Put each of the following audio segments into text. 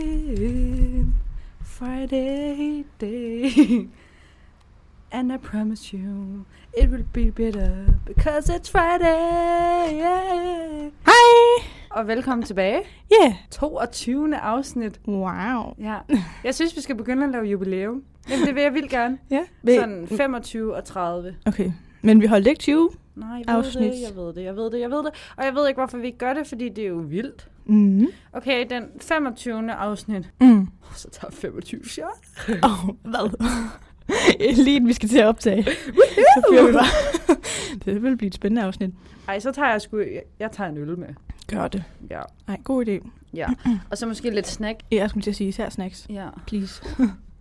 in Friday day. And I promise you, it will be better, because it's Friday. Yeah. Hej! Og velkommen tilbage. Ja. Yeah. 22. afsnit. Wow. Ja. Jeg synes, vi skal begynde at lave jubilæum. Jamen, det vil jeg vildt gerne. Ja. Sådan 25 og 30. Okay. Men vi holdt ikke 20. Nej, jeg ved Afsnit. det, jeg ved det, jeg ved det, jeg ved det. Og jeg ved ikke, hvorfor vi ikke gør det, fordi det er jo vildt. Mm. Okay, den 25. afsnit. Mm. Oh, så tager 25 shot. Åh, oh, hvad? Lige inden vi skal til at optage. Så fyrer vi bare. det vil blive et spændende afsnit. Ej, så tager jeg sgu... Jeg, jeg tager en øl med. Gør det. Ja. Ej, god idé. ja. Og så måske lidt snack. Jeg skulle til at sige især snacks. Ja. Please.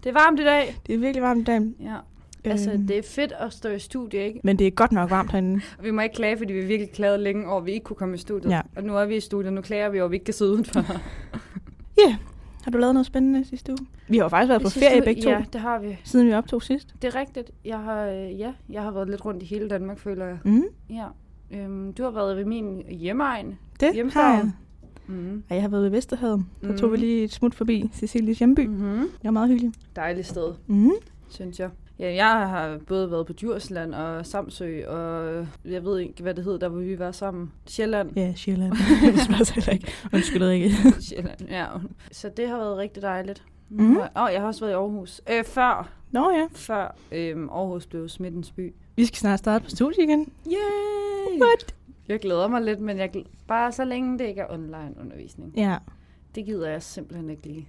Det er varmt i dag. Det er virkelig varmt i dag. Ja. Altså, Øhm, det er fedt at stå i studie, ikke? Men det er godt nok varmt herinde. Og vi må ikke klage, fordi vi virkelig klagede længe over, at vi ikke kunne komme i studiet. Ja. Og nu er vi i studiet, nu klager vi over, at vi ikke kan sidde udenfor. Ja. Yeah. Har du lavet noget spændende sidste uge? Vi har jo faktisk været på ferie begge to, Ja, det har vi. siden vi optog sidst. Det er rigtigt. Jeg har, øh, ja, jeg har været lidt rundt i hele Danmark, føler jeg. Mm. Ja. Øhm, du har været ved min hjemmeegn. Det har Hjemstavn. jeg. Mm. Og jeg har været ved Vesterhavet. Så Mhm. tog vi lige et smut forbi Cecilies hjemby. Mm-hmm. Det var meget hyggeligt. Dejligt sted, Mm. synes jeg. Ja, jeg har både været på Djursland og Samsø, og jeg ved ikke, hvad det hed, der hvor vi var sammen. Sjælland. Ja, Sjælland. det spørger sig heller ikke. Undskyld, Rikke. Sjælland, ja. Så det har været rigtig dejligt. Mhm. Mm. Og jeg har også været i Aarhus. Øh, før, Nå ja, før øhm, Aarhus blev smittens by. vi skal snart starte på studie igen. Yay! Jeg glæder mig lidt, men jeg glæder, bare så længe det ikke er online undervisning. Ja. Det gider jeg simpelthen ikke lige.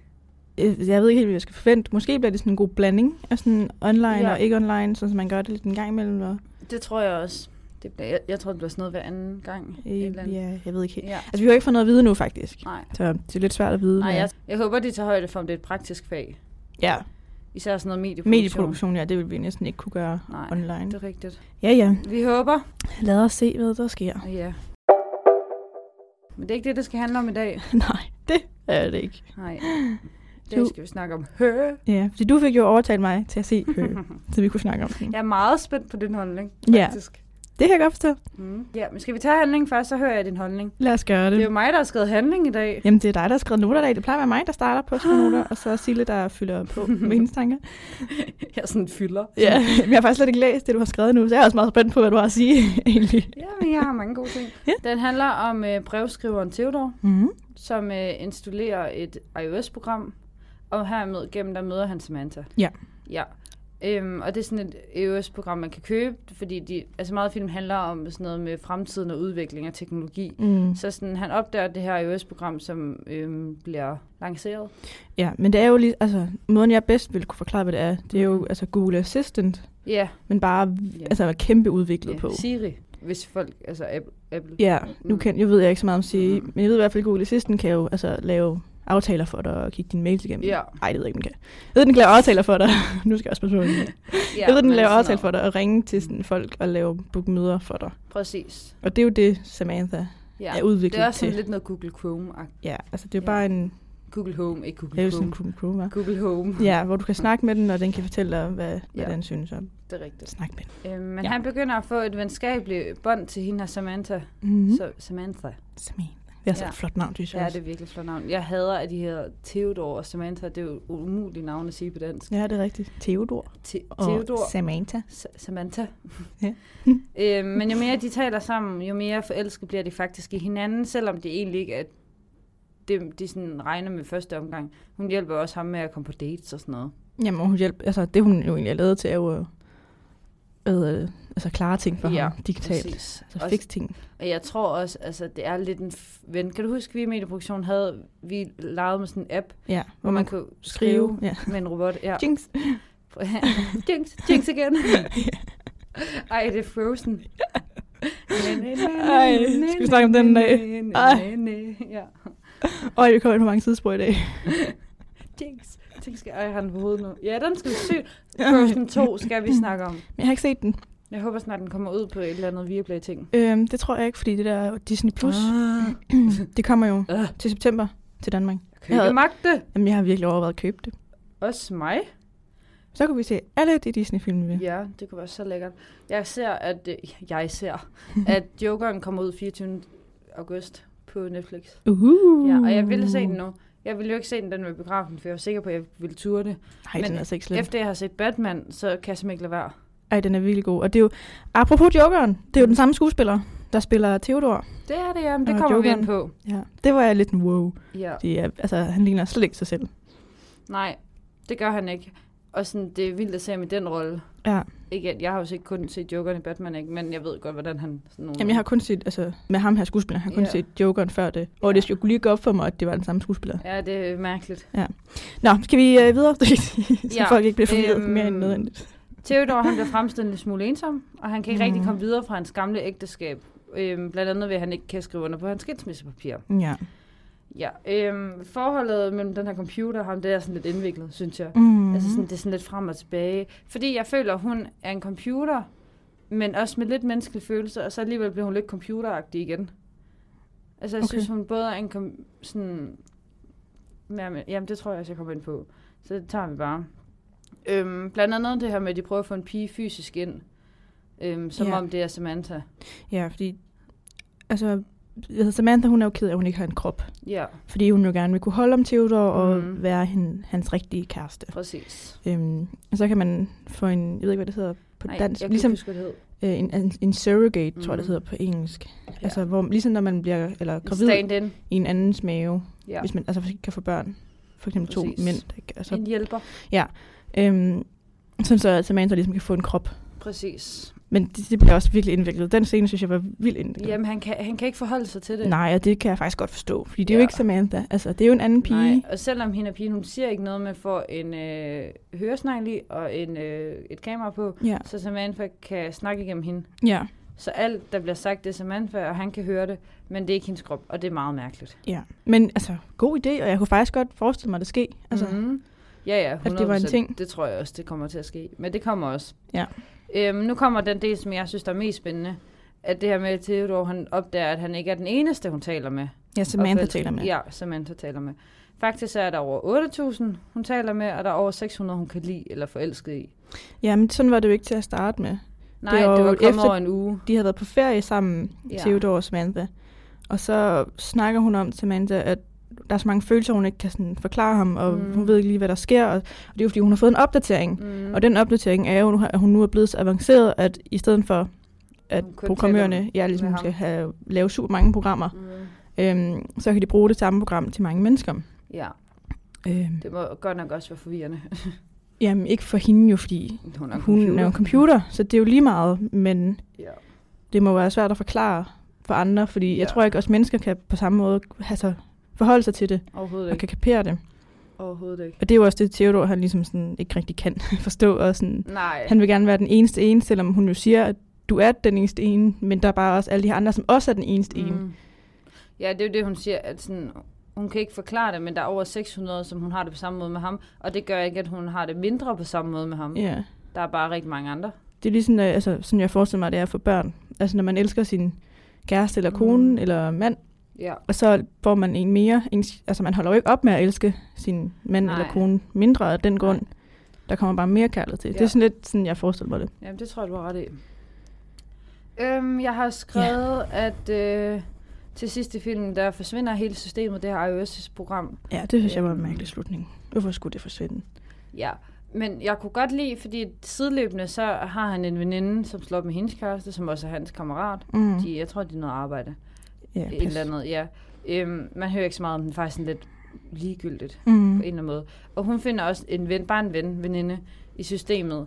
Øh, Jeg ved ikke helt, hvad jeg skal forvente. Måske bliver det sådan en god blanding af sådan online Ja. ja. og ikke online, sådan så man gør det lidt en gang imellem. Og, øh, Det tror jeg også. Det bliver, jeg, jeg tror, det bliver sådan noget hver anden gang. øh, et eller andet. ja, jeg ved ikke helt. Ja. Altså, vi har jo ikke fået noget at vide nu, faktisk. Nej. Så det er lidt svært at vide. Nej, hvad- jeg, jeg håber, de tager højde for, om det er et praktisk fag. Ja, Især sådan noget medieproduktion. medieproduktion, ja, det vil vi næsten ikke kunne gøre Nej, online. det er rigtigt. Ja, ja. Vi håber. Lad os se, hvad der sker. Ja. Men det er ikke det, det skal handle om i dag. Nej, det er det ikke. Nej. Jo. Det skal vi snakke om. Hø. Ja, fordi du fik jo overtalt mig til at se Hø, så vi kunne snakke om den. Jeg er meget spændt på din holdning, Ja, faktisk. det kan jeg godt forstå. Mm. Ja, men skal vi tage handling først, så hører jeg din holdning. Lad os gøre Det er jo mig, der har skrevet handling i dag. Jamen, det er dig, der har skrevet noter i dag. Det plejer at være mig, der starter på at skrive Ah. noter, og så Sille, der fylder på med hendes tanker. Jeg er sådan en fylder. Ja, men jeg har faktisk slet ikke læst det, du har skrevet nu, så jeg er også meget spændt på, hvad du har at sige, egentlig. Ja, men jeg har mange gode ting. Ja. Den handler om øh, brevskriveren Theodor, Mm. som øh, installerer et iOS-program, og hermed gennem der møder han Samantha. Ja. Ja. Øhm, og det er sådan et iOS-program, man kan købe, fordi de, altså meget film handler om sådan noget med fremtiden og udvikling af teknologi. Mm. Så sådan, han opdager det her iOS-program, som øhm, bliver lanceret. Ja, men det er jo lige, altså, måden jeg bedst ville kunne forklare, hvad det er, det er jo altså Google Assistant, Ja, men bare Mm. Ja. yeah. altså, kæmpe udviklet ja. på. Siri, hvis folk, altså Apple. Apple. Ja, nu Mm. kan, jeg ved jeg ikke så meget om sige, Mm. men jeg ved i hvert fald, at Google Assistant kan jo altså, lave aftaler for dig og kigge dine mails igennem. Ja. Ej, det ved jeg ikke, den kan. Jeg ved, den kan lave aftaler for dig. nu skal jeg også passe på. hvad jeg siger. ja, Jeg ved, den men laver sådan aftale noget. for dig og ringe til sådan folk og lave book møder for dig. Præcis. Og det er jo det, Samantha Ja. er udviklet Det er også sådan til. lidt noget Google Chrome. Ja, altså det er jo Ja. bare en Google Home, ikke Google det er jo sådan Chrome. en Chrome Chrome, hva'? Google Home, Ja, hvor du kan snakke med den, og den kan fortælle dig, hvad, hvad Ja. den synes om. det er rigtigt. Snak med den. Øhm, men Ja. ja. han begynder at få et venskabeligt bånd til hende og Samantha. Mm. Mm-hmm. Så, Samantha. Samantha. Det er altså Ja. et flot navn, synes jeg Ja, det også. er virkelig flot navn. Jeg hader, at de hedder Theodor og Samantha. Det er jo umulige navne at sige på dansk. Ja, det er rigtigt. Theodor Te- og Theodor. Samantha. Sa- Samantha. Ja. øhm, men jo mere de taler sammen, jo mere forelsket bliver de faktisk i hinanden, selvom det egentlig ikke er det, de sådan regner med første omgang. Hun hjælper også ham med at komme på dates og sådan noget. Jamen, og hun hjælp, altså det hun jo egentlig er lavet til, er jo at- hvad hedder det, altså klare ting for Ja, ham digitalt. Præcis. Altså Også- fikse ting. Og jeg tror også, altså det er lidt en f- ven. Kan du huske, vi i medieproduktionen havde, vi legede med sådan en app, Ja, hvor man kunne skrive. skrive Ja. med en robot. Ja. Jinx. jinx, jinx igen. Ej, det er Frozen. Ej, skal vi snakke om den en dag? Ej. Ja. Øj, vi kommer ind på mange sidespor i dag. Jinx. Jinx skal jeg har den på hovedet nu. Ja, den skal vi se. Frozen 2 skal vi snakke om. Men jeg har ikke set den. Jeg håber snart, den kommer ud på et eller andet Viaplay-ting. Øhm, det tror jeg ikke, fordi det der Disney Plus, Ah, det kommer jo Ah. til september til Danmark. jeg kan ikke magte det. Jamen, jeg har virkelig overvejet at købe det. Også mig. Så kunne vi se alle de Disney-film, vi Ja, det kunne være så lækkert. Jeg ser, at, øh, jeg ser, at Jokeren kommer ud 24. august på Netflix. Uhuh. Ja, og jeg ville se den nu. Jeg ville jo ikke se den, den var i biografen, for jeg var sikker på, at jeg ville ture det. Nej, den Men er altså ikke slem. Slim. Efter jeg har set Batman, så kan jeg simpelthen ikke lade være. Ej, den er virkelig god. Og det er jo, apropos Jokeren, det er jo den samme skuespiller, der spiller Theodor. Det er det, ja. Men det Og kommer vi Jokeren. ind på. Ja. Det var jeg lidt en wow. Ja. Det er, altså, han ligner slet ikke sig selv. Nej, det gør han ikke. Og sådan, det er vildt at se ham i den rolle. Ja. Ikke, at jeg har jo ikke kun set Jokeren i Batman, ikke? men jeg ved godt, hvordan han... Sådan nogle... Jamen, jeg har kun set, altså, med ham her skuespiller, jeg har kun Ja. set Jokeren før det. Og det skulle lige gå op for mig, at det var den samme skuespiller. Ja, det er mærkeligt. Nå, skal vi øh, videre? så Ja. folk ikke bliver forvirret Øhm, mere end nødvendigt. Theodor, han bliver fremstillet en smule ensom, og han kan ikke mm. rigtig Mhm. komme videre fra hans gamle ægteskab. Øhm, blandt andet ved, at han ikke kan skrive under på hans skilsmissepapir. Ja. Ja, øhm, forholdet mellem den her computer og ham, det er sådan lidt indviklet, synes jeg. Mm. Altså sådan, det er sådan lidt frem og tilbage. Fordi jeg føler, hun er en computer, men også med lidt menneskelig følelse, og så alligevel bliver hun lidt computeragtig igen. Altså, jeg okay. Okay. synes, hun både er en kom- sådan... Jamen, jamen, det tror jeg også, jeg kommer ind på. Så det tager vi bare. Øhm, blandt andet det her med, at de prøver at få en pige fysisk ind. Øhm, som Ja. om det er Samantha. Ja, fordi... Altså, jeg hedder Samantha, hun er jo ked af, at hun ikke har en krop. Ja, Fordi hun jo gerne vil kunne holde om Theodor og Mhm. være hen, hans rigtige kæreste. præcis. Øhm, og så kan man få en, jeg ved ikke, hvad det hedder på Nej, dansk, jeg ligesom kan ikke huske, hvad det hed. øh, en, en, en surrogate, mm. tror jeg, det Mhm. hedder på engelsk. Ja. Altså, hvor, ligesom når man bliver eller gravid Stand-in. i en andens mave, ja. Ja. hvis man altså, ikke kan få børn. For eksempel to Præcis. mænd. der ikke- Altså, En hjælper. øhm, sådan så at Samantha ligesom kan få en krop. Præcis. Men det, det bliver også virkelig indviklet. Den scene, synes jeg, var vildt indviklet. Jamen, han kan, han kan ikke forholde sig til det. Nej, og det kan jeg faktisk godt forstå, fordi det er jo Ja. ikke Samantha. Altså, det er jo en anden pige. Nej, og selvom hende og pigen, hun siger ikke noget, men får en øh, høresnegl i og en, øh, et kamera på, Ja. så Samantha kan snakke igennem hende. ja. Så alt, der bliver sagt, det er Samantha, og han kan høre det, men det er ikke hendes krop, og det er meget mærkeligt. Ja. Men altså, god idé, og jeg kunne faktisk godt forestille mig, at det ske. Altså, mm-hmm. mm-hmm. Ja, ja, 100%. at det var en ting. Det tror jeg også, det kommer til at ske. Men det kommer også. Ja. Øhm, nu kommer den del, som jeg synes, der er mest spændende. At det her med, at Theodor han opdager, at han ikke er den eneste, hun taler med. Ja, Samantha Og fald- taler med. Ja, Samantha taler med. Faktisk er der over 8.000, hun taler med, og der er over 600, hun kan lide eller forelske i. Ja, men sådan var det jo ikke til at starte med. Nej, det var var, jo det var kommet efter- over en uge. De havde været på ferie sammen, ja. Ja. Theodor og Samantha. Og så snakker hun om, Samantha, at der er så mange følelser, hun ikke kan sådan forklare ham, og mm. Mm. hun ved ikke lige, hvad der sker. Og, og det er jo, fordi hun har fået en opdatering. Mm. Mm. Og den opdatering er jo, nu har- at hun nu er blevet så avanceret, at i stedet for, at Hun kun programmørerne taler ja, ligesom med skal have, lave super mange programmer, Mm. øhm, så kan de bruge det samme program til mange mennesker. Ja, Øhm, det må godt nok også være forvirrende. jamen ikke for hende jo, fordi Hun er en hun er jo en computer, så det er jo lige meget, men Ja. det må være svært at forklare for andre, fordi ja. jeg Ja. tror ikke også mennesker kan på samme måde altså, forholde sig til det Overhovedet og ikke. kan kapere det. Overhovedet ikke. Og det er jo også det, Theodor han ligesom sådan ikke rigtig kan forstå. Og sådan, Nej, han vil gerne være den eneste ene, selvom hun jo siger, at du er den eneste ene, men der er bare også alle de her andre, som også er den eneste mm. ene. Mm. Ja, det er jo det, hun siger, at sådan, hun kan ikke forklare det, men der er over 600, som hun har det på samme måde med ham, og det gør ikke, at hun har det mindre på samme måde med ham. Ja. Der er bare rigtig mange andre. Det er ligesom, øh, altså, sådan jeg forestiller mig, det er for børn. Altså når man elsker sin kæreste eller Mm. kone mm. eller mand, Ja, Og så får man en mere. Ens, altså man holder jo ikke op med at elske sin mand Nej. Nej. eller kone mindre af den grund. Der kommer bare mere kærlighed til. Ja. Det er Ja. sådan lidt sådan, jeg forestiller mig det. Jamen, det tror jeg, du har ret i. Øhm, jeg har skrevet, ja. at øh, til sidste film, der forsvinder hele systemet, det her iOS' program. Ja, det synes jeg var en Øhm. mærkelig slutning. Hvorfor skulle det forsvinde? Ja, men jeg kunne godt lide, fordi sideløbende, så har han en veninde, som slår op med hendes kæreste, som også er hans kammerat. Mm. De, jeg tror, de er noget arbejde. ja, Et pis. eller andet, Mhm. ja. Øhm, man hører ikke så meget om den, faktisk sådan lidt ligegyldigt. Mm. på en eller anden måde. Og hun finder også en ven, bare en ven, veninde i systemet.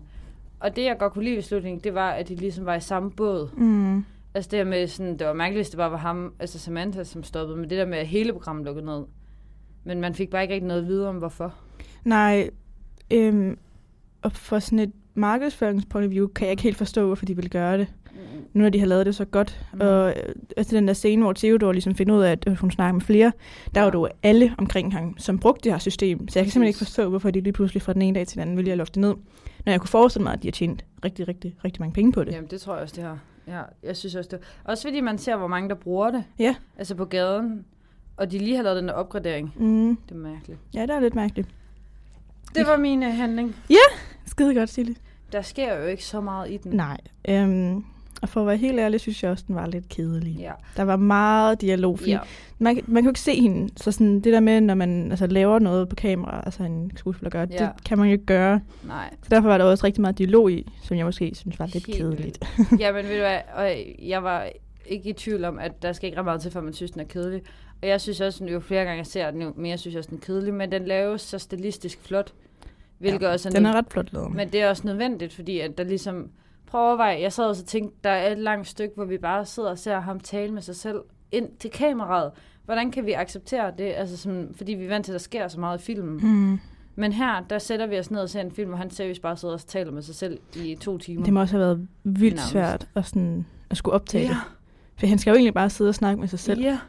Og det, jeg godt kunne lide ved slutningen, det var, at de ligesom var i samme båd. Mm. Altså det her med, sådan, det var mærkeligt, hvis det bare var ham, altså Samantha, som stoppede, men det der med, at hele programmet lukkede ned. Men man fik bare ikke rigtig noget at vide om, hvorfor. Nej, øhm, og for sådan et markedsføringspunkt of view, kan jeg ikke helt forstå, hvorfor de vil gøre det. Nu når de har lavet det så godt. Mm. Mm. Og øh, altså den der scene, hvor Theodor ligesom finder ud af, at hun snakker med flere, der var Ja. jo alle omkring ham, som brugte det her system. Så jeg kan simpelthen ikke Præcis. forstå, hvorfor de lige pludselig fra den ene dag til den anden ville jeg lukke det ned. Når jeg kunne forestille mig, at de har tjent rigtig, rigtig, rigtig mange penge på det. Jamen, det tror jeg også, det her. Ja, jeg synes også det. Også fordi man ser, hvor mange der bruger det. Ja. Altså på gaden. Og de lige har lavet den der opgradering. Mm. Det er mærkeligt. Ja, det er lidt mærkeligt. Det var min øh, handling. Skide godt, Silly. Der sker jo ikke så meget i den. Nej. Øhm, Og for at være helt ærlig, synes jeg også, den var lidt kedelig. Ja. Der var meget dialog. fordi ja. Man, kan- man kunne ikke se hende. Så sådan det der med, når man altså, laver noget på kamera, altså en skuespiller gør, Ja. det kan man jo ikke gøre. Nej. Så derfor var der også rigtig meget dialog i, som jeg måske synes var lidt Helt kedeligt. Ja, men ved du hvad, og jeg var ikke i tvivl om, at der skal ikke ret meget til, for man synes, den er kedelig. Og jeg synes også, at jo flere gange jeg ser den, jo mere synes jeg også, den er kedelig. Men den laves så stilistisk flot, hvilket ja, også er, Den er nød- ret flot lavet. Men det er også nødvendigt, fordi at der ligesom... Prøv at overveje, jeg sad også og tænkte, der er et langt stykke, hvor vi bare sidder og ser ham tale med sig selv ind til kameraet. Hvordan kan vi acceptere det? Altså, som, fordi vi er vant til, at der sker så meget i filmen. Mm. Men her, der sætter vi os ned og ser en film, hvor han seriøst bare sidder og taler med sig selv i to timer. Det må også have været vildt Nærmest. svært at, sådan, at skulle optage ja. det. For han skal jo egentlig bare sidde og snakke med sig selv. Ja.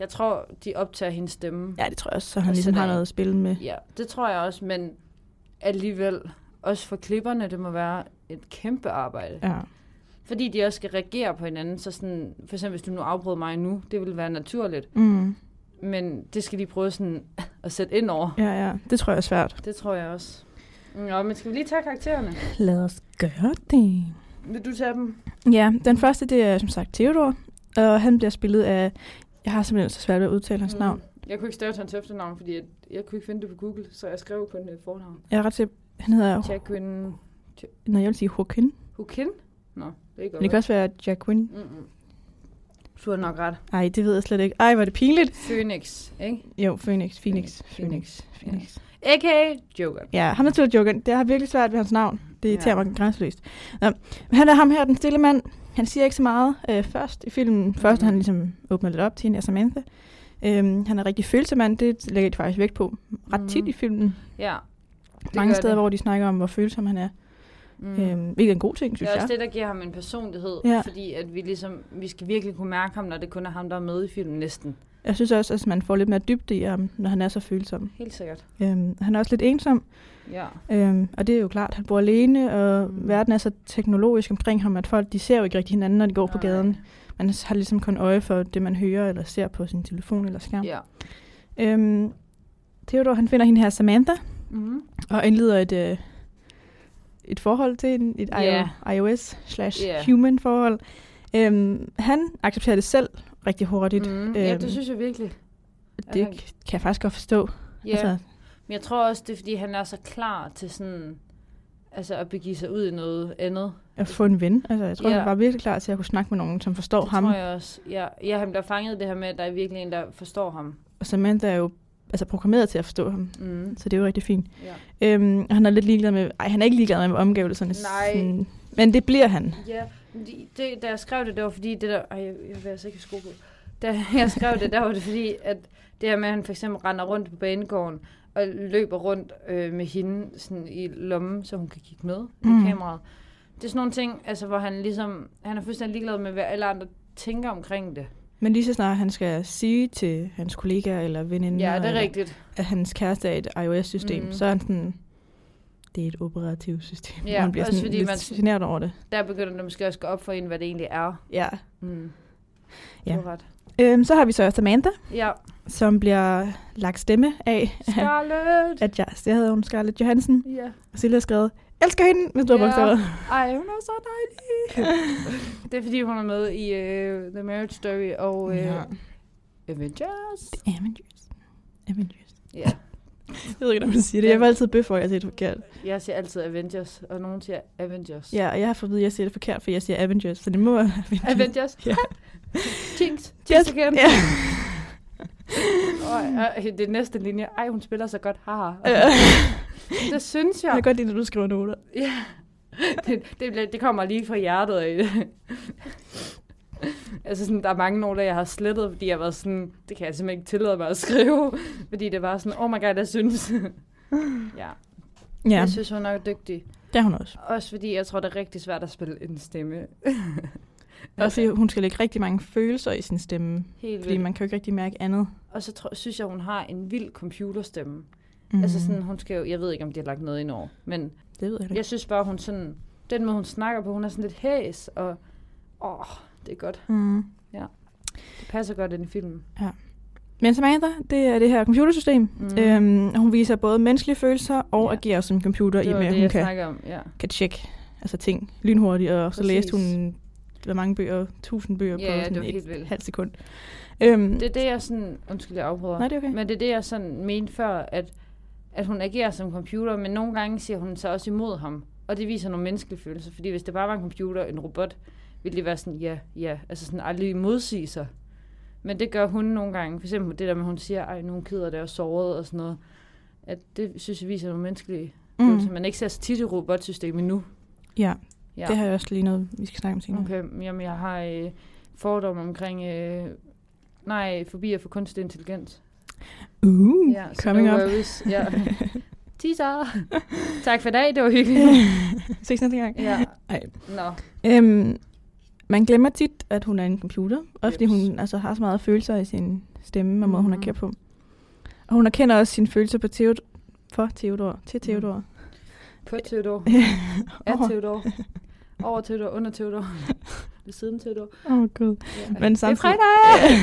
Jeg tror, de optager hendes stemme. Ja, det tror jeg også, så han Og ligesom sådan har er- noget at spille med. ja, det tror jeg også, men alligevel, også for klipperne, det må være et kæmpe arbejde. Ja. Fordi de også skal reagere på hinanden, så sådan, for eksempel hvis du nu afbrød mig nu, det ville være naturligt, Mm. men det skal de prøve sådan at sætte ind over. ja, ja. Det tror jeg er svært. Det tror jeg også. Nå, men skal vi lige tage karaktererne? Lad os gøre det. Vil du tage dem? Ja, den første, det er som sagt Theodor, og han bliver spillet af... Jeg har simpelthen så svært ved at udtale hans mm. navn. Jeg kunne ikke stave til hans efternavn, fordi jeg, jeg kunne ikke finde det på Google, så jeg skrev kun et fornavn. Jeg er ret til... Han hedder... Jacqueline Nå, jeg vil sige Joaquin. Hukin? Nå, det er Men det godt. kan også være Jacqueline. Mm-mm. Du har nok ret. Nej, det ved jeg slet ikke. Ej, var det pinligt? Phoenix, ikke? Jo, Phoenix, Phoenix, Phoenix, Phoenix, Phoenix, Phoenix. A.k.a. Joker. Ja, ham der spiller Jokeren, det har virkelig svært ved hans navn. Det irriterer Ja. mig grænseløst. Nå, men han er ham her, den stille mand. Han siger ikke så meget øh, først i filmen. Først mm. Mhm. han ligesom åbner lidt op til hende, er Samantha. Øhm, han er rigtig følsom mand, det lægger de faktisk vægt på ret tit Mhm. i filmen. Ja. Det Mange gør steder, det. hvor de snakker om, hvor følsom han er. Mm. Mm. Øhm, hvilket er en god ting, det synes er jeg. også det, der giver ham en personlighed, Ja. ja. fordi at vi, ligesom, vi skal virkelig kunne mærke ham, når det kun er ham, der er med i filmen næsten. Jeg synes også, at man får lidt mere dybde i ham, når han er så følsom. Helt sikkert. Øhm, han er også lidt ensom, Ja. øhm, og det er jo klart, han bor alene, og mm. Mm. verden er så teknologisk omkring ham, at folk de ser jo ikke rigtig hinanden, når de går Nej. på Nej. gaden. Man har ligesom kun øje for det, man hører eller ser på sin telefon eller skærm. Ja. Øhm, Theodor, han finder hende her Samantha, Mm. og indleder et, øh, et forhold til en, et Ja. yeah. iOS slash Ja. human forhold. Øhm, han accepterer det selv rigtig hurtigt. Mm. Ja, øhm, det synes jeg virkelig. Det han- kan jeg faktisk godt forstå. Ja. Altså. Men jeg tror også, det er, fordi han er så klar til sådan... Altså at begive sig ud i noget andet. at få en ven. Altså, jeg tror, Ja. han var virkelig klar til at kunne snakke med nogen, som forstår det ham. tror jeg også. Ja, ja, han bliver fanget i det her med, at der er virkelig en, der forstår ham. Og Samantha er jo altså, programmeret til at forstå ham. Mm. Så det er jo rigtig fint. Ja. Øhm, og han er lidt ligeglad med... Ej, han er ikke ligeglad med omgivelserne. Nej. Sådan, men det bliver han. Ja, men de- det, da jeg skrev det, det var fordi, det der... Ej, jeg, jeg vil altså ikke have sko på. Da jeg skrev det, der var det fordi, at det her med, at han for eksempel render rundt på banegården og løber rundt øh, med hende sådan i lommen, så hun kan kigge med Mm. mm. i kameraet. Det er sådan nogle ting, altså, hvor han ligesom... Han er fuldstændig ligeglad med, hvad alle andre tænker omkring det. Men lige så snart han skal sige til hans kollegaer eller veninder, Ja, det er eller, rigtigt. at hans kæreste er et iOS-system, mm. Mhm. så er han sådan... Det er et operativt system. Ja, og han bliver også sådan fordi lidt man- generet over det. Der begynder det måske også at gå op for en, hvad det egentlig er. Ja. Mm. Ja. Du har ret. Øhm, så har vi så Samantha, Ja, som bliver lagt stemme af, Scarlett! at jeg, jeg hedder hun Scarlett Johansen. Ja. Silja har skrevet, elsker hende med store Ja. bogstaver. Ej, hun er så dejlig. det er fordi, hun er med i uh, The Marriage Story og uh, ja. Avengers. Avengers. Avengers. Ja. Jeg ved ikke, om man siger det. Jeg var altid bøf, hvor jeg siger det forkert. Jeg siger altid Avengers, og nogen siger Avengers. Ja, og jeg har fået at vide, at jeg siger det forkert, for jeg siger Avengers, så det må være Avengers. Avengers. Ja. Ja. Jinx. Yes. Jinx again. Ja. Og, øh, det er næste linje. Ej, hun spiller så godt. Haha. Øh, Det synes jeg jeg. kan godt lide, når du skriver noter. Ja. Det, det, bliver- det kommer lige fra hjertet af det. altså sådan, der er mange noter, jeg har slettet, fordi jeg var sådan, det kan jeg simpelthen ikke tillade mig at skrive, fordi det var sådan, oh my god, jeg synes. ja. Ja, Jeg synes, hun er dygtig. det er hun også. Også fordi, jeg tror, det er rigtig svært at spille en stemme. Også fordi hun skal lægge rigtig mange følelser i sin stemme, Helt fordi vildt. man kan jo ikke rigtig mærke andet. Og så tror, synes jeg, hun har en vild computerstemme. Mm. Altså sådan, hun skal jo, jeg ved ikke, om de har lagt noget ind over, men Mhm. det ved jeg da ikke. jeg synes bare, hun sådan, den måde, hun snakker på, hun er sådan lidt hæs, og åh, det er godt. Mm. Det passer godt ind i filmen. Men Samantha, det er det her computersystem. Mm. Øhm, hun viser både menneskelige følelser og Ja. agerer som computer, i det og var med, at det, hun jeg kan snakker om, ja. kan tjekke altså ting lynhurtigt, og så Præcis. læste hun hvor mange bøger, tusind bøger Ja, ja, på det sådan var helt et vildt. halvt sekund. Øhm, Det er det, jeg sådan... Undskyld, jeg afbryder. nej, det er okay. Men det er det, jeg sådan mente før, at, at hun agerer som computer, men nogle gange siger hun sig også imod ham. Og det viser nogle menneskelige følelser, fordi hvis det bare var en computer, en robot, ville det være sådan, ja, ja, altså sådan aldrig modsige sig. Men det gør hun nogle gange. For eksempel det der med, at hun siger, ej, nu er hun ked af det og såret og sådan noget. At det synes jeg viser nogle menneskelige mm. følelser. Man ikke ser så tit i robotsystemet nu. Ja, Ja. det har jeg også lige noget, vi skal snakke om senere. Okay, jamen jeg har øh, fordomme omkring, øh, nej, fobier for kunstig intelligens. Uh, Ja, så coming no up. worries. Ja. Teaser. tak for i dag, det var hyggeligt. Ses næste gang. ja. Ej. Nå. Øhm, man glemmer tit, at hun er en computer, også fordi Jeps. hun altså, har så meget følelser i sin stemme og måde, hun Mhm. agerer på. Og hun erkender også sine følelser på Theod- for Theodor, Mhm. til Theodor. På Theodor. Af Theodor. Over Theodor, under Theodor. Ved siden Theodor. Åh, oh, gud. Ja. Men det er samtidig- fredag!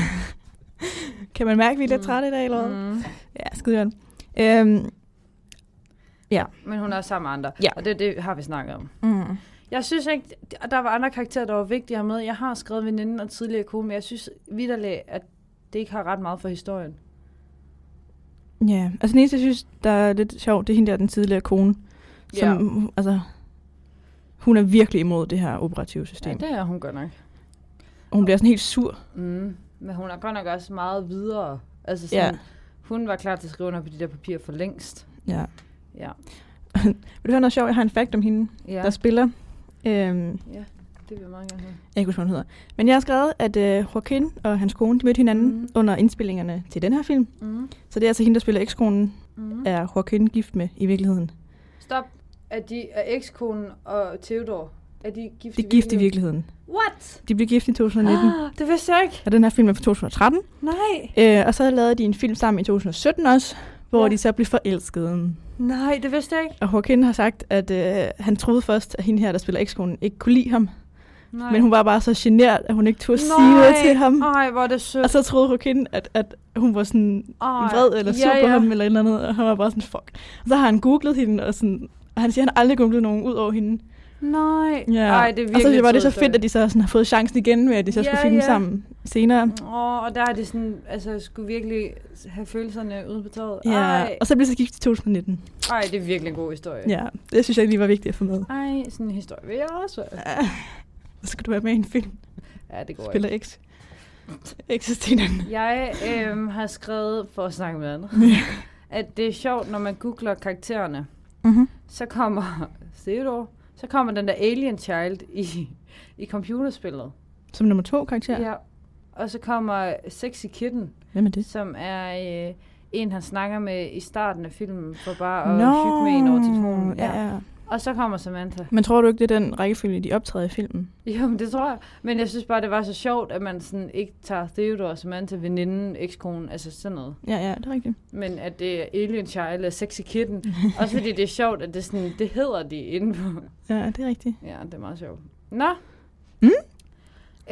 Kan man mærke, at vi er lidt Mm. trætte i dag, eller hvad? Mm. Ja, skide godt. Øhm, Men hun er sammen med andre. Ja. Og det, det har vi snakket om. mm. Jeg synes ikke, at der var andre karakterer, der var vigtigere med. Jeg har skrevet veninden og tidligere kone, men jeg synes vidderligt, at det ikke har ret meget for historien. Ja, altså den eneste, jeg synes, der er lidt sjovt, det er hende der, den tidligere kone, som, ja. altså, hun er virkelig imod det her operative ja system. det er hun godt nok. Hun bliver sådan helt sur. Mm. Men hun er godt nok også meget videre. Altså sådan, Ja. ja. hun var klar til at skrive under på de der papirer for længst. Ja. Ja. Vil du høre noget sjovt? Jeg har en fact om hende, ja. Ja, der spiller. Øhm, det vil jeg meget gerne høre. Jeg kan ikke huske, hvad hun hedder. Men jeg har skrevet, at øh, Joaquin og hans kone de mødte hinanden Mhm. mm. under indspillingerne til den her film. Mm. Så det er altså hende, der spiller ekskonen, Mm. er Joaquin gift med i virkeligheden. Stop. Er, de, er ekskonen og Theodor, er de gift De er gift i virkeligheden. What? De blev gift i 2019, Ah, det vidste jeg ikke. og den her film er fra 2013. Nej. Øh, og så lavede de en film sammen i 2017 også, hvor Ja. ja. de så blev forelskede. Nej, det vidste jeg ikke. Og Joaquin har sagt, at øh, han troede først, at hende her, der spiller ekskonen, ikke kunne lide ham. Nej. Nej. Men hun var bare så genert, at hun ikke turde sige noget til ham. Nej, hvor er det sødt. Og så troede Joaquin, at, at hun var sådan Ej. vred eller sur ja, ja, på ja. ham eller et eller andet, og han var bare sådan, fuck. Og så har han googlet hende, og, sådan, og han siger, at han aldrig googlede nogen ud over hende. Nej. Ej, det er virkelig altså. og så synes jeg bare, en Altså, det sød er så fedt, at de så sådan har fået chancen igen med, at de så Ja, ja, skulle filme ja. ja. sammen senere. historie. Åh, og der er det sådan, altså, jeg skulle virkelig have følelserne ude på tøjet. Ja, Ej. Øh. og så blev det så gift i 2019. Ej, det er virkelig en god historie. Ja, det synes jeg lige var vigtigt at få med. Ej, sådan en historie vil jeg også være. Ja. Så skal du være med i en film, Ja, det går ikke. spiller X. Eksisterende. Jeg øhm, har skrevet, for at snakke med andre, at det er sjovt, når man googler karaktererne, Mm-hmm. så kommer Theodor, så kommer den der Alien Child i, i computerspillet. Som nummer to karakter. Ja. Og så kommer Sexy Kitten, Hvem er det? som er øh, en, han snakker med i starten af filmen, for bare at Nå, hygge med en over telefonen. Ja. ja. Og så kommer Samantha. Men tror du ikke, det er den rækkefølge, de optræder i filmen? Jo, men det tror jeg. Men jeg synes bare, det var så sjovt, at man sådan ikke tager Theodor og Samantha, veninden, ekskonen, altså sådan noget. Ja, ja, det er rigtigt. Men at det er Alien Child og Sexy Kitten. Også fordi det er sjovt, at det, sådan, det hedder de inde på. Ja, det er rigtigt. Ja, det er meget sjovt. Nå. Mm.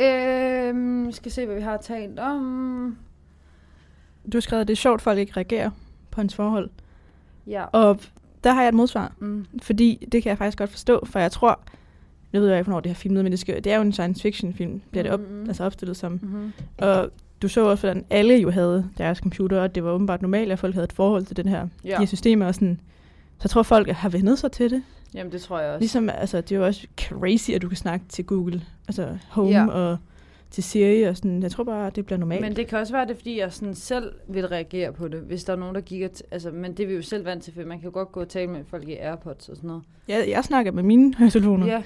Øhm, skal se, hvad vi har talt om. Du har skrevet, at det er sjovt, at folk ikke reagerer på hans forhold. Ja. Og der har jeg et modsvar, Mm. fordi det kan jeg faktisk godt forstå, for jeg tror, nu ved jeg ikke, hvornår det her filmet, men det, skal, det er jo en science fiction film, bliver det op, Mhm. altså opstillet som. Mm-hmm. Og du så også, hvordan alle jo havde deres computer, og det var åbenbart normalt, at folk havde et forhold til den her, ja. Ja. de her systemer. Og sådan. Så jeg tror, folk har vendet sig til det. Jamen, det tror jeg også. Ligesom, altså, det er jo også crazy, at du kan snakke til Google, altså Home Ja. ja. og til Siri og sådan. Jeg tror bare, det bliver normalt. Men det kan også være, det er, fordi jeg sådan selv vil reagere på det, hvis der er nogen, der gik og t- altså, Men det er vi jo selv vant til, for man kan jo godt gå og tale med folk i Airpods og sådan noget. Jeg, jeg snakker med mine høretelefoner. Ja.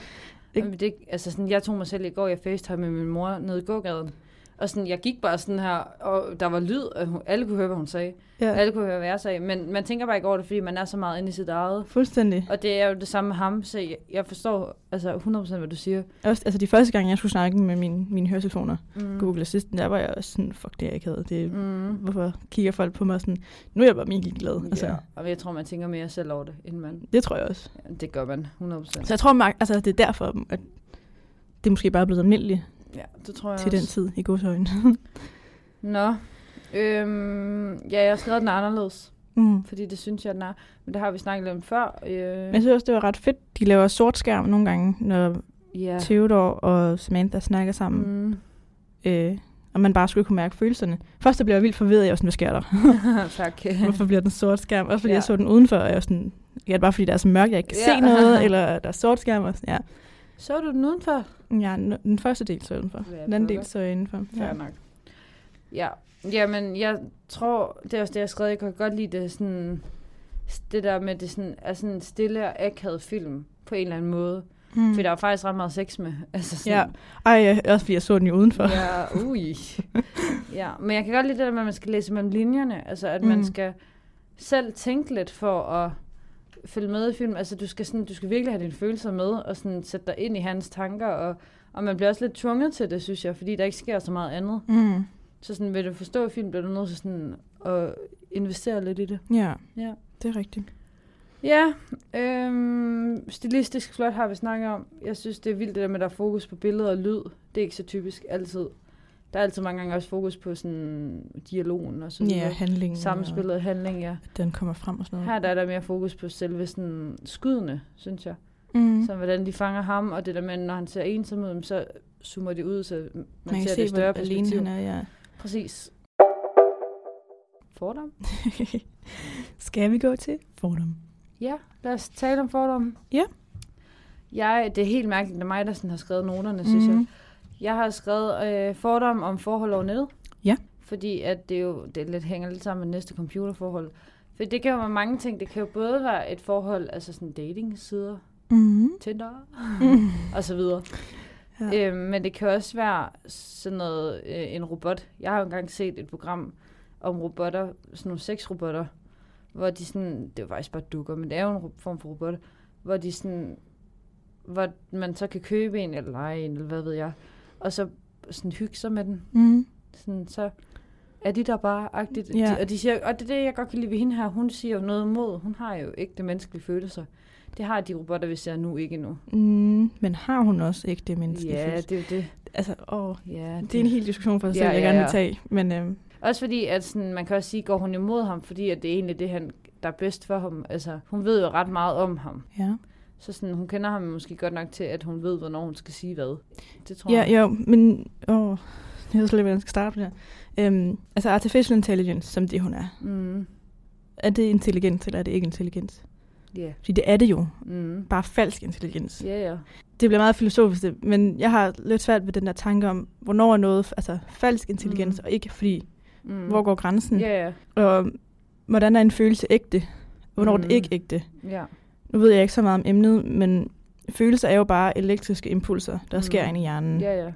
Ikke? Jamen, det, altså sådan, jeg tog mig selv i går, jeg facetime med min mor nede i gågaden. Og sådan, jeg gik bare sådan her, og der var lyd, og hun, alle kunne høre, hvad hun sagde. Ja. Alle kunne høre, hvad jeg sagde. Men man tænker bare ikke over det, fordi man er så meget inde i sit eget. Fuldstændig. Og det er jo det samme med ham, så jeg, jeg forstår altså 100% hvad du siger. Også, altså de første gange, jeg skulle snakke med mine, mine høretelefoner, Mm. Google Assistant, der var jeg også sådan, fuck det er jeg ikke havde. Det, Mm. Hvorfor kigger folk på mig sådan, nu er jeg bare mega glad. Altså, Ja. Og jeg tror, man tænker mere selv over det, end man... Det tror jeg også. Ja, det gør man, 100%. Så jeg tror, man, altså, det er derfor, at det måske bare er blevet almindeligt Ja, det tror jeg til også. den tid i godsøjne. Nå. Øhm, ja, jeg har skrevet den anderledes, mm. fordi det synes jeg, den er. Men det har vi snakket lidt om før. Øh, Men jeg synes også, det var ret fedt. De laver sort skærm nogle gange, når Ja. Theodor og Samantha snakker sammen, Mm. mm. øh, og man bare skulle kunne mærke følelserne. Først så blev jeg vildt forvirret, jeg var sådan, hvad sker der? tak. Hvorfor bliver den sort skærm? Også fordi Ja. ja. jeg så den udenfor, og jeg var sådan, ja, det er bare fordi, der er så mørkt, jeg ikke kan Ja. ja. se noget, eller der er sort skærm. Og sådan, ja. Så du den udenfor? ja, n- den første del så jeg udenfor. Ja, Den anden pokker. del så jeg indenfor. Fair Ja. nok. Ja, jamen jeg tror, det er også det, jeg har skrevet, jeg kan godt lide det sådan, det der med, det sådan, er sådan en stille og akavet film på en eller anden måde. Mm. Mm. For der er faktisk ret meget sex med. Altså sådan, Ja, Ej, ja, også fordi jeg så den jo udenfor. Ja. Ja, ui. ja, men jeg kan godt lide det der med, at man skal læse mellem linjerne. Altså, at mm. man Mm. skal selv tænke lidt for at følge med i film. Altså, du skal, sådan, du skal virkelig have dine følelser med, og sådan sætte dig ind i hans tanker. Og, og man bliver også lidt tvunget til det, synes jeg, fordi der ikke sker så meget andet. Mm. Så sådan, vil du forstå film, bliver du nødt til sådan at investere lidt i det. ja, Ja. det er rigtigt. Ja, øhm, stilistisk flot har vi snakket om. Jeg synes, det er vildt det der med, at der er fokus på billeder og lyd. Det er ikke så typisk altid. Der er altid mange gange også fokus på sådan dialogen og sådan Ja, handlingen. Samspillet og handling, ja. og Den kommer frem og sådan noget. Her der er der mere fokus på selve sådan skydende, synes jeg. Mm. Mm. Så hvordan de fanger ham, og det der med, når han ser ensom ud, så zoomer de ud, så man, man, kan ser se, det i hvor større alene perspektiv. han er, ja. Præcis. Fordom? Skal vi gå til fordom? Ja, lad os tale om fordomme. Ja. Jeg, det er helt mærkeligt, det er mig, der sådan har skrevet noterne, mm. synes Mhm. jeg. Jeg har skrevet øh, fordomme om forhold over nettet. Ja. Fordi at det jo det lidt hænger lidt sammen med næste computerforhold. For det kan jo være mange ting. Det kan jo både være et forhold, altså sådan dating-sider, Mm-hmm. Tinder og så videre. Ja. Ja. Øh, men det kan også være sådan noget, øh, en robot. Jeg har jo engang set et program om robotter, sådan nogle sexrobotter, hvor de sådan, det var faktisk bare dukker, men det er jo en ro- form for robot, hvor de sådan, hvor man så kan købe en eller lege en, eller hvad ved jeg, og så sådan hygge sig med den. Mm. Sådan, så er de der bare agtigt. Ja. De, og, de siger, og det er det, jeg godt kan lide ved hende her. Hun siger jo noget mod. Hun har jo ikke det menneskelige følelser. Det har de robotter, vi ser nu, ikke endnu. Mm. Men har hun også ikke det menneske? Ja, det er jo det. Altså, åh, Ja, det er en hel diskussion for sig Ja, selv, jeg ja, gerne ja. vil tage. Men øhm, Også fordi, at sådan, man kan også sige, går hun imod ham, fordi at det er egentlig det, han, der er bedst for ham. Altså, hun ved jo ret meget om ham. ja. Så sådan, hun kender ham måske godt nok til, at hun ved, hvornår hun skal sige hvad. Det tror Ja, jeg. ja, men åh, jeg ved slet ikke, hvordan jeg skal starte på det her. Øhm, altså artificial intelligence, som det hun er. Mm, Er det intelligens, eller er det ikke intelligens? yeah. Fordi det er det jo. mm. Bare falsk intelligens. Ja, ja. Det bliver meget filosofisk, det- men jeg har lidt svært ved den der tanke om, hvornår er noget altså, falsk intelligens, Mm. og ikke fordi, Mm. hvor går grænsen? Ja, ja. Og hvordan er en følelse ægte? Og hvornår er Mm. det ikke ægte? Ja, Nu ved jeg ikke så meget om emnet, men følelser er jo bare elektriske impulser, der Mm. mm. sker inde i hjernen. ja, ja.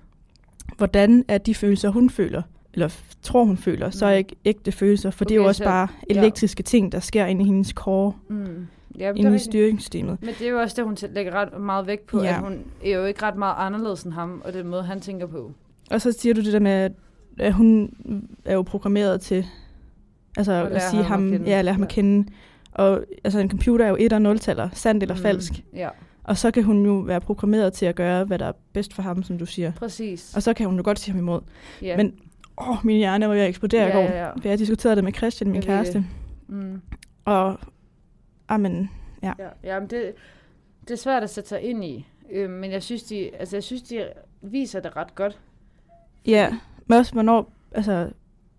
hvordan er de følelser, hun føler, eller f- tror, hun føler, så er Mm. ikke ægte følelser, for okay, det er Okay, jo også så- bare ja. elektriske ting, der sker inde i hendes kår, Mm. ja men det er inde i rigtigt. styringssystemet. Men det er jo også det, hun selv lægger ret meget vægt på, ja. Ja. at hun er jo ikke ret meget anderledes end ham, og den måde, han tænker på. Og så siger du det der med, at- at hun er jo programmeret til altså At at, lære sige ham ham, at ham kende. ja, lære ham Ja. at kende. Og altså en computer er jo et- og nul-taller, sandt eller mm. falsk. Ja, Og så kan hun jo være programmeret til at gøre, hvad der er bedst for ham, som du siger. præcis. Og så kan hun jo godt sige ham imod. Ja. Men- Åh, min hjerne var ved at eksplodere Ja, i går. ja, ja. For Jeg diskuterede det med Christian, min Jeg ved det. kæreste. Mm. Og, amen, Ja, ja men det, det er svært at sætte sig ind i. Øh, men jeg synes, de, altså, jeg synes, de viser det ret godt. Ja, men også hvornår, altså,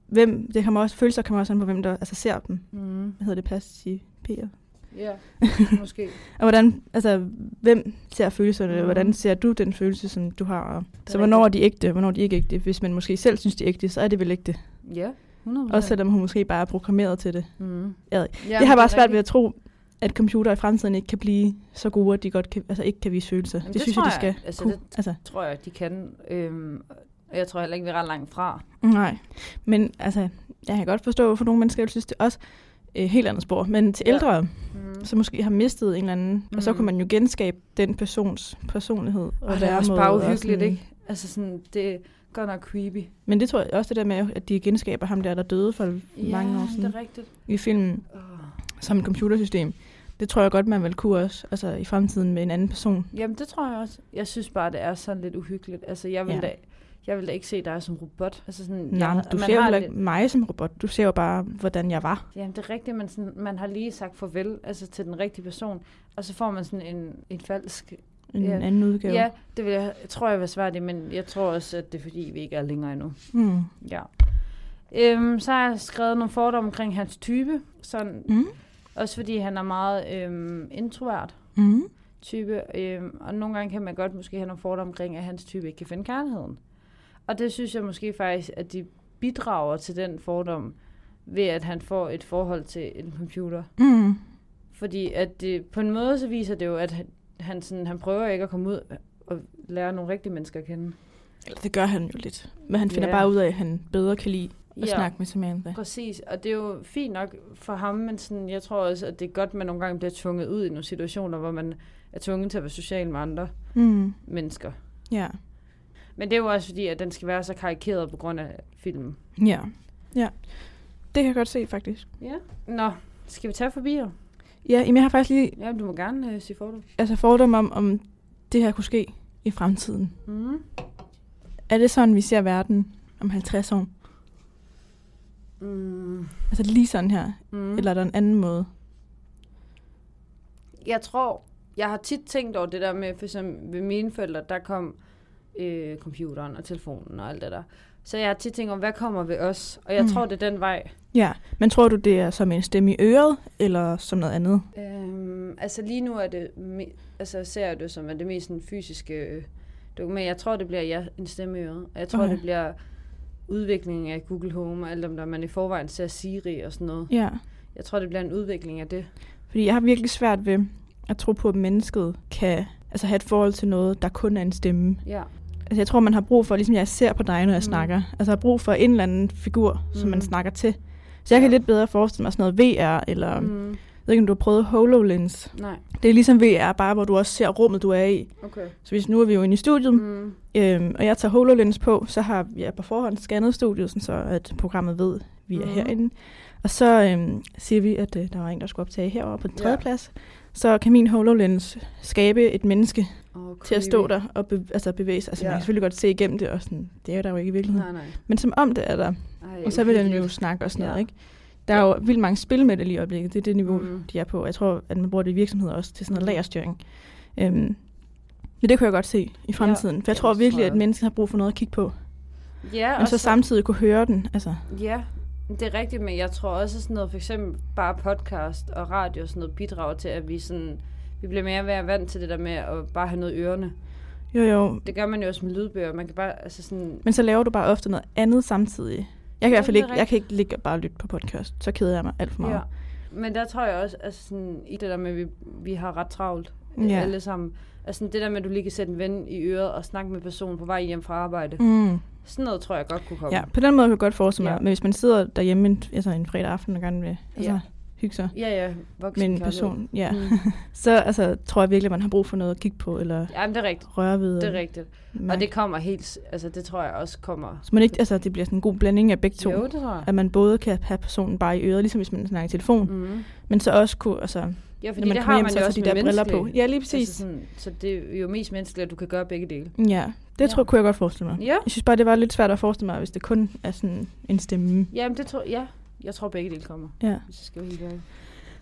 hvem, det kommer også, følelser kommer også an på, hvem der altså, ser dem. Mm. Hvad hedder det, passiver? Ja, måske. Og hvordan, altså, hvem ser følelserne, Mhm. mm. hvordan ser du den følelse, som du har? Og, så rigtigt. hvornår er de ægte, og hvornår er de ikke ægte? Hvis man måske selv synes, de er ægte, så er det vel ægte. Mm. Ja, 100 Også selvom hun måske bare er programmeret til det. Mm. Jeg ved Ja, Ja, jeg har bare svært ved at tro, at computere i fremtiden ikke kan blive så gode, at de godt kan, altså ikke kan vise følelser. Jamen, det det, det synes tror jeg, de jeg. Altså, skal altså, kunne. det- Altså, tror jeg, de kan. Øhm, og jeg tror heller ikke, vi er ret langt fra. Nej, men altså, jeg kan godt forstå, hvorfor nogle mennesker vil synes, det er også øh, helt andet spor. Men til Ja. ældre, Mm. som måske har mistet en eller anden, mm. og så Mhm. kunne man jo genskabe den persons personlighed. Og det er væremåde også bare og uhyggeligt, sådan- ikke? Altså sådan, det er godt nok creepy. Men det tror jeg også det der med, at de genskaber ham der, der døde for mange år det siden er rigtigt. i filmen, Oh. som et computersystem. Det tror jeg godt, man vil kunne også, altså i fremtiden med en anden person. Jamen, det tror jeg også. Jeg synes bare, det er sådan lidt uhyggeligt. Altså, jeg vil, ja. Ja. da, jeg vil da ikke se dig som robot. Altså sådan, Nej, jeg, men du man ser jo har heller lidt- ikke mig som robot. Du ser jo bare, hvordan jeg var. Jamen, det er rigtigt, men sådan, man har lige sagt farvel altså, til den rigtige person, og så får man sådan en, en falsk en Ja. anden udgave. Ja, det vil jeg, jeg tror, jeg vil svare det, men jeg tror også, at det er fordi, vi ikke er længere endnu. Mm. Ja. Øhm, så har jeg skrevet nogle fordomme omkring hans type. Sådan, Mm. også fordi han er meget øhm, introvert Mm. type. Øhm, og nogle gange kan man godt måske have nogle fordomme omkring, at hans type ikke kan finde kærligheden. Og det synes jeg måske faktisk, at de bidrager til den fordom, ved at han får et forhold til en computer. Mm. Fordi at det, på en måde så viser det jo, at han- han, sådan, han prøver ikke at komme ud og lære nogle rigtige mennesker at kende. Eller det gør han jo lidt. Men han finder Ja. bare ud af, at han bedre kan lide at snakke med Samantha. Præcis, og det er jo fint nok for ham, men sådan, jeg tror også, at det er godt, at man nogle gange bliver tvunget ud i nogle situationer, hvor man er tvunget til at være social med andre Mm. mennesker. Ja. Men det er jo også fordi, at den skal være så karikeret på grund af filmen. ja. Ja. Det kan jeg godt se, faktisk. Ja. Nå, skal vi tage forbi jer? Ja, jamen, jeg har faktisk lige Ja, du må gerne øh, sige fordom. altså, fordomme om, om det her kunne ske i fremtiden. Mm. Er det sådan, vi ser verden om 50 år? Mm. Altså lige sådan her? Mm. Mm. Eller er der en anden måde? jeg tror, jeg har tit tænkt over det der med, for eksempel ved mine forældre, der kom øh, computeren og telefonen og alt det der. Så jeg har tit tænkt over, hvad kommer ved os? Og jeg Mm. mm. tror, det er den vej. Ja, men tror du, det er som en stemme i øret, eller som noget andet? Øhm, altså lige nu er det, me- altså ser jeg det som er det mest sådan, fysiske øh, dokument. Jeg tror, det bliver ja, en stemme i øret. Og Jeg tror, Okay. okay. det bliver udviklingen af Google Home og alt dem, der man i forvejen ser Siri og sådan noget. Ja, Jeg tror, det bliver en udvikling af det. fordi jeg har virkelig svært ved at tro på, at mennesket kan altså have et forhold til noget, der kun er en stemme. Ja. Altså jeg tror, man har brug for, ligesom jeg ser på dig, når jeg mm. Mm. snakker, altså jeg har brug for en eller anden figur, mm. som man Mhm. snakker til. Så jeg kan Ja. lidt bedre forestille mig sådan noget VR, eller mm. Mm. jeg ved ikke, om du har prøvet HoloLens. Nej. Det er ligesom VR, bare hvor du også ser rummet, du er i. Okay. Så hvis nu er vi jo inde i studiet, mm. Mm. øhm, og jeg tager HoloLens på, så har jeg på forhånd scannet studiet, sådan så at programmet ved, vi er mm. Mhm. herinde. Og så øhm, siger vi, at øh, der var en, der skulle optage herover på den Ja. tredje plads. Så kan min HoloLens skabe et menneske Oh, til at stå der og be, altså bevæge sig. Altså, ja. Ja. man kan selvfølgelig godt se igennem det, og sådan, det er jo der jo ikke i virkeligheden. Nej, nej. Men som om det er der. Ej, Og så vil den jo uhyggeligt. snakke og sådan noget, Ja. ikke? Der er jo vildt mange spil med det lige i øjeblikket. Det er det niveau, mm. Mhm. de er på. Jeg tror, at man bruger det i virksomheder også til sådan noget lagerstyring. Øhm, men det kunne jeg godt se i fremtiden. Ja, for jeg det tror tror virkelig, jeg at også. mennesker har brug for noget at kigge på. Ja, Men og så samtidig kunne høre den. Altså, Ja, det er rigtigt, men jeg tror også at sådan noget, for eksempel bare podcast og radio og sådan noget bidrager til, at vi sådan, vi bliver mere og mere vant til det der med at bare have noget i ørerne. jo jo. Det gør man jo også med lydbøger. Man kan bare, altså sådan, Men så laver du bare ofte noget andet samtidig. Ja, Jeg kan i hvert fald det er ikke, jeg kan ikke ligge og bare lytte på podcast. Så keder jeg mig alt for meget. ja. Men der tror jeg også, altså sådan, i det der med, at vi, vi har ret travlt øh, Ja. alle sammen. Altså sådan, det der med, at du lige kan sætte en ven i øret og snakke med personen på vej hjem fra arbejde. Mm. Sådan noget tror jeg godt kunne komme. Ja, på den måde kan jeg godt forestille mig. Ja. Ja. Men hvis man sidder derhjemme en, altså en fredag aften og gerne vil altså, ja. Ja. hygge sig ja, ja voksen med en person, ja, Mm. så altså, tror jeg virkelig, man har brug for noget at kigge på eller Jamen, det er rigtigt. røre ved. Det er og rigtigt. Og mærke. det kommer helt, s- altså det tror jeg også kommer. Så man ikke, altså, det bliver sådan en god blanding af begge to. Jo, det tror jeg. At man både kan have personen bare i øret, ligesom hvis man snakker i telefon, mm. Mm. men så også kunne, altså, når Ja, fordi man det kommer har hjem, man så jo få også de med der briller på. menneskelige. Ja, lige præcis. Altså sådan, så det er jo mest menneskeligt, at du kan gøre begge dele. Ja, Ja. det tror, kunne jeg godt forestille mig. Ja, Jeg synes bare, det var lidt svært at forestille mig, hvis det kun er sådan en stemme. Jamen, det tror ja. Jeg tror, begge dele kommer. Ja. Hvis jeg skal være helt ærlig.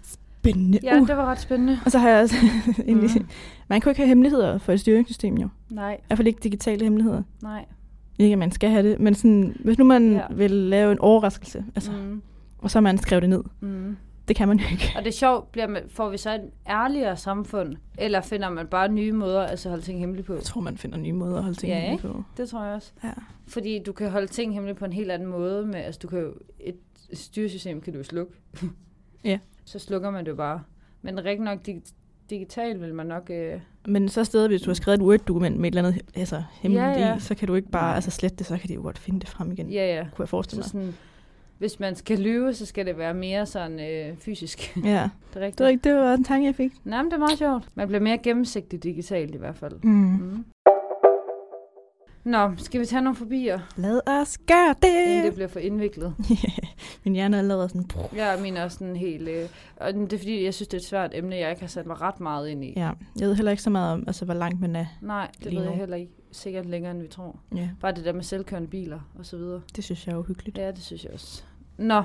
Spændende. Ja, uh. det var ret spændende. Og så har jeg også egentlig... Mhm. Man kunne ikke have hemmeligheder for et styringssystem, jo. Nej, I hvert fald ikke digitale hemmeligheder. nej. Ikke, at man skal have det, men sådan, hvis nu man ja. Ja. vil lave en overraskelse, altså, mm. Mm, og så har man skrevet det ned, mm. det kan man jo ikke. Og det er sjovt, bliver man, får vi så et ærligere samfund, eller finder man bare nye måder altså at holde ting hemmelige på? Jeg tror, man finder nye måder at holde ting Ja, ja, ikke? på. Det tror jeg også. Ja. Fordi du kan holde ting hemmelige på en helt anden måde. Med, altså, du kan jo, et styresystem kan du jo slukke. Ja. Så slukker man det jo bare. Men rigtig nok dig- digitalt vil man nok... Øh, Men så stadig, hvis du har skrevet et Word-dokument med et eller andet altså, hemmeligt Ja, ja. i, så kan du ikke bare Nej. altså, slette det, så kan de jo godt finde det frem igen, ja, ja. kunne jeg forestille Så mig. sådan, hvis man skal lyve, så skal det være mere sådan øh, fysisk. Ja, det er rigtigt. det var, ikke, det var en tanke, jeg fik. Nej, men det er meget sjovt. Man bliver mere gennemsigtig digitalt i hvert fald. Mm. Mm. Nå, skal vi tage nogle forbier, Lad os gøre inden det det! bliver for indviklet? Min hjerne er allerede sådan... Jeg er min også sådan helt... Øh, og det er fordi, jeg synes, det er et svært emne, jeg ikke har sat mig ret meget ind i. Ja, jeg ved heller ikke så meget om, altså, hvor langt man er. Nej, det Lige ved jeg nu. heller ikke. Sikkert længere, end vi tror. Ja, Bare det der med selvkørende biler og så videre. det synes jeg er uhyggeligt. Ja, det synes jeg også. Nå,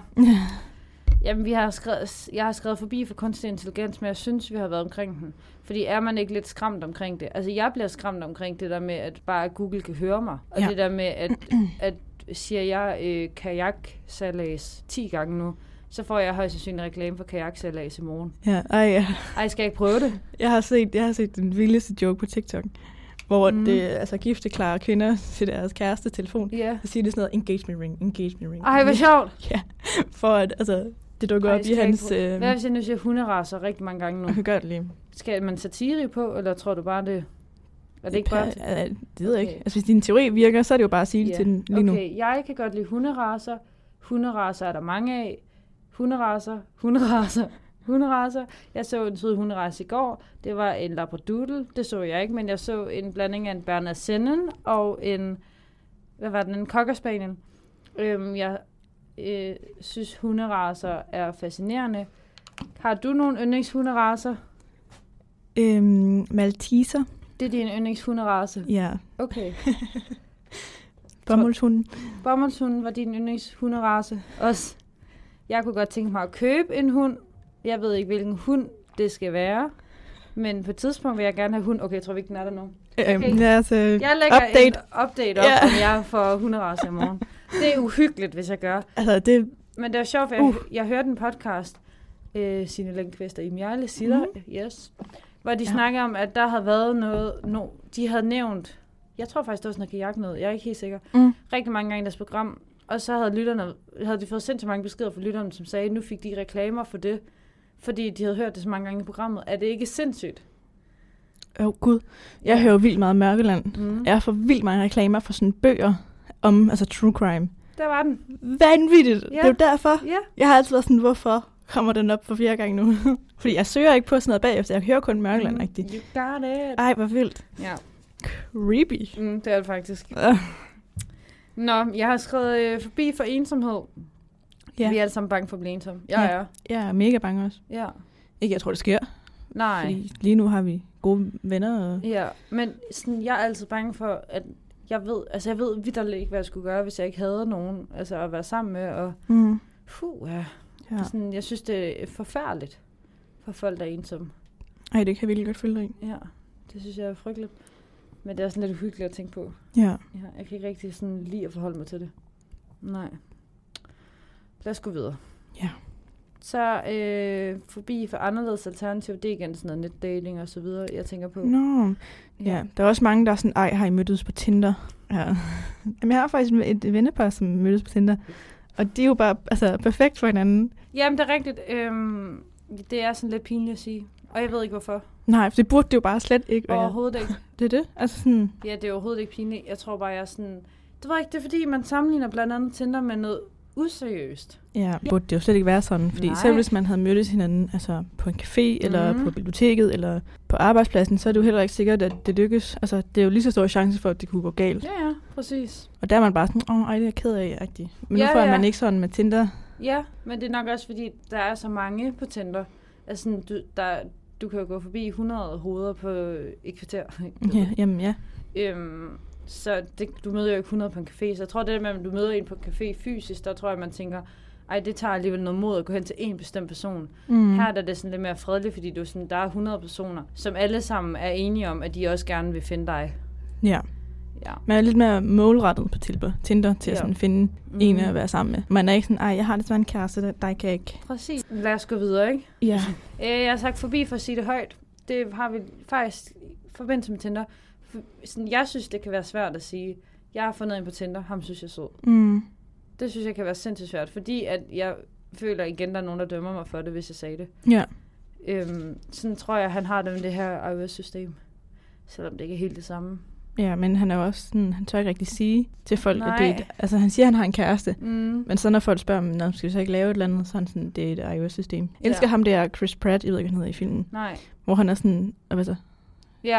Jamen, vi har skrevet, jeg har skrevet forbi for kunstig intelligens, men jeg synes, vi har været omkring den. Fordi er man ikke lidt skræmt omkring det? Altså, jeg bliver skræmt omkring det der med, at bare Google kan høre mig. Og Ja. det der med, at, at siger jeg øh, kajaksalas 10 gange nu, så får jeg højst sandsynligt reklame for kajaksalas i morgen. Ja, ej, ja. Ej, skal jeg ikke prøve det? Jeg har set, jeg har set den vildeste joke på TikTok, hvor Mm. mm. det altså gifteklare kvinder til deres kæreste telefon. Ja. Så siger det sådan noget, engagement ring, engagement ring. Ej, hvor sjovt. Ja, for at, altså, det dukker Ej, op skal i jeg hans... ikke prøve- Øh, Hvad hvis jeg nu siger hunderaser rigtig mange gange nu? jeg kan gøre det lige. Skal man satire på, eller tror du bare det? Er det ikke bare til? Ja, det ved jeg ikke. Okay. Altså, hvis din teori virker, så er det jo bare at sige det Ja, til den lige nu. Okay, jeg kan godt lide hunderaser. Hunderaser er der mange af. Hunderaser, hunderaser, hunderaser. Jeg så en sød hunderace i går. Det var en labradoodle. Det så jeg ikke, men jeg så en blanding af en Berner Sennen og en... Hvad var den? En Cocker Spaniel. Øhm, jeg øh, synes, hunderaser er fascinerende. Har du nogle yndlingshunderaser? Øhm, Malteser. Det er din yndlingshunderace. Ja. Okay. Bomuldshunden. Bomuldshunden var din yndlingshunderace også. Jeg kunne godt tænke mig at købe en hund. Jeg ved ikke, hvilken hund det skal være. Men på et tidspunkt vil jeg gerne have hund. Okay, jeg tror ikke, den er der nu. Øhm, Okay. lad os, øh, Jeg lægger update. en update op, Ja. om jeg får hunderace i morgen. Det er uhyggeligt, hvis jeg gør. Altså, det, Men det var sjovt, for jeg, uh. jeg hørte en podcast, øh, Signe Lindqvist og Imiale Sitter, mm-hmm. yes, hvor de ja. Ja. snakkede om, at der havde været noget, no, de havde nævnt, jeg tror faktisk, det var sådan noget kajak noget, jeg er ikke helt sikker, Mm. rigtig mange gange i deres program, og så havde, lytterne, havde de fået sindssygt mange beskeder fra lytterne, som sagde, nu fik de reklamer for det, fordi de havde hørt det så mange gange i programmet. Er det ikke sindssygt? åh oh, gud, jeg hører jo vildt meget Mørkeland. Mm. Jeg får vildt mange reklamer for sådan bøger om altså true crime. Der var den. Vanvittigt! Ja. Det er jo derfor. Ja. Jeg har altid været sådan, hvorfor kommer den op for fjerde gang nu? Fordi jeg søger ikke på sådan noget bagefter. Jeg hører kun Mørkeland, Mm. rigtigt. Ah. You got it. Ej, hvor vildt. Ja, Creepy. mm, det er det faktisk. Uh, Nå, jeg har skrevet øh, forbi for ensomhed. Ja. ja. Vi er alle sammen bange for at blive ensomme. Jeg Ja. er. Jeg er mega bange også. Ja. Ikke, jeg tror, det sker. Nej. Fordi lige nu har vi gode venner. Og... Ja, men sådan, jeg er altid bange for, at jeg ved, altså jeg ved vidderligt ikke, hvad jeg skulle gøre, hvis jeg ikke havde nogen altså at være sammen med. Og, Mm. puh, ja. Ja. Ja. Sådan, jeg synes, det er forfærdeligt for folk, der er ensomme. Ej, det kan jeg virkelig godt følge dig i. Ja, det synes jeg er frygteligt. Men det er sådan lidt uhyggeligt at tænke på. Ja. Ja, jeg kan ikke rigtig sådan lide at forholde mig til det. Nej. Lad os gå videre. Ja. Så øh, forbi for anderledes alternativ, det er igen sådan noget netdating og så videre, jeg tænker på. Nå. Ja. Ja, der er også mange, der er sådan, ej, har I mødtes på Tinder? Ja. Jamen, jeg har faktisk et vennepar, som mødtes på Tinder. Og de er jo bare altså, perfekt for hinanden. Jamen, det er rigtigt. Øhm, det er sådan lidt pinligt at sige. Og jeg ved ikke, hvorfor. Nej, for det burde det jo bare slet ikke være. Overhovedet ikke. Det er det. Altså sådan, Ja, det er overhovedet ikke pinligt. Jeg tror bare, jeg er sådan... Det var ikke det, er fordi man sammenligner blandt andet Tinder med noget useriøst. ja, burde det jo slet ikke være sådan. Fordi Nej. Nej. selv hvis man havde mødtes hinanden altså, på en café, eller Mhm. på biblioteket, eller på arbejdspladsen, så er det jo heller ikke sikkert, at det lykkes. Altså, det er jo lige så stor chance for, at det kunne gå galt. Ja, ja, præcis. Og der er man bare sådan, åh, ej, det er jeg ked af, agtig. Men Ja, nu får ja. man ikke sådan med Tinder. Ja, men det er nok også, fordi der er så mange på Tinder. Altså, sådan, du, der, du kan jo gå forbi 100 hoveder på et kvarter. Ja, jamen ja. Øhm, så det, du møder jo ikke 100 på en café, så jeg tror det der med, at du møder en på en café fysisk, der tror jeg, man tænker, ej, det tager alligevel noget mod at gå hen til en bestemt person. Mm. Her der er det sådan lidt mere fredeligt, fordi du er sådan, der er 100 personer, som alle sammen er enige om, at de også gerne vil finde dig. Ja. Ja. Man er lidt mere målrettet på Tilber, Tinder til at Ja. sådan finde mm. en at være sammen med. Man er ikke sådan, ej, jeg har desværre en kæreste, der, der kan jeg ikke. Præcis. Lad os gå videre, ikke? Ja. Øh, jeg har sagt forbi for at sige det højt. Det har vi faktisk i forbindelse med Tinder. For, sådan, jeg synes, det kan være svært at sige, jeg har fundet en på Tinder, ham synes jeg er sød. Mm. Det synes jeg kan være sindssygt svært, fordi at jeg føler igen, der er nogen, der dømmer mig for det, hvis jeg sagde det. Ja. Øhm, sådan tror jeg, han har det med det her iOS-system. Selvom det ikke er helt det samme. ja, men han er jo også sådan, han tør ikke rigtig sige til folk, at det er Nej. et, Altså, han siger, han har en kæreste. Mm. Men så når folk spørger, "Nå, skal vi så ikke lave et eller andet, så er han sådan, det er et iOS-system. Jeg elsker Ja. ham der Chris Pratt, jeg ved ikke, hvad han hedder i filmen, Nej. hvor han er sådan, og hvad så? Ja,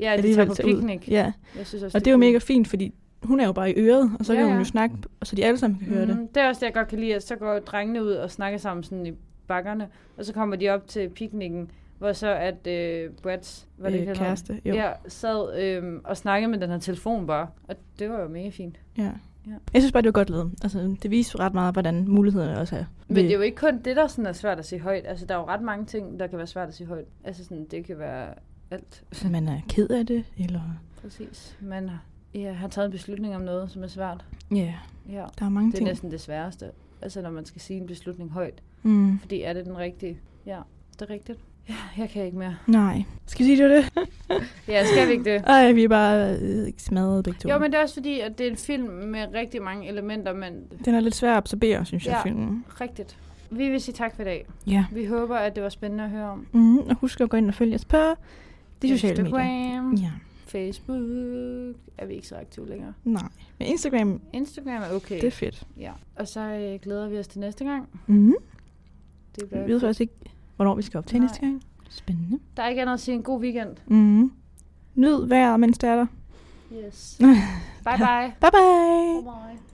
ja de Alligevel tager på tager ud. piknik. Ja, Jeg synes også, og det er jo mega fint, fordi hun er jo bare i øret, og så Ja, ja, kan hun ja. jo snakke, og så de alle sammen kan høre det. Mm, det er også det, jeg godt kan lide, at så går drengene ud og snakker sammen sådan i bakkerne, og så kommer de op til piknikken, hvor så at øh, Brads, var det Øh, ikke han hed? kæreste, jo. Ja, sad øh, og snakkede med den her telefon bare, og det var jo mega fint. Ja. Ja. Jeg synes bare, det var godt lavet. Altså, det viser ret meget, hvordan mulighederne også er. Men det er jo ikke kun det, der sådan er svært at sige højt. Altså, der er jo ret mange ting, der kan være svært at sige højt. Altså, sådan, det kan være alt. ikke... Man er ked af det, eller... Præcis. Man har, ja, har taget en beslutning om noget, som er svært. Ja, Ja. der er mange Det er ting. næsten det sværeste. Altså, når man skal sige en beslutning højt. Mm. Fordi er det den rigtige? Ja, det er rigtigt. Ja, jeg kan ikke mere. Nej. Skal vi sige, det var det? Ja, skal vi ikke det? Ej, vi er bare øh, smadret begge to. Jo, men det er også fordi, at det er en film med rigtig mange elementer, men Den er lidt svær at absorbere, synes jeg, Ja. filmen. rigtigt. Vi vil sige tak for i dag. Ja. Vi håber, at det var spændende at høre om. Mm, og husk at gå ind og følge os på de sociale medier. Instagram, Ja. Facebook er vi ikke så aktive længere. Nej. Men Instagram, Instagram er okay. det er fedt. Ja. Og så øh, glæder vi os til næste gang. Mm. Det Vi bliver ved faktisk ikke, hvornår vi skal optage Nej. næste gang. Spændende. Der er ikke andet at sige en god weekend. Mm. Nyd vejret, mens det er der. Yes. Bye bye. Bye Bye bye! bye.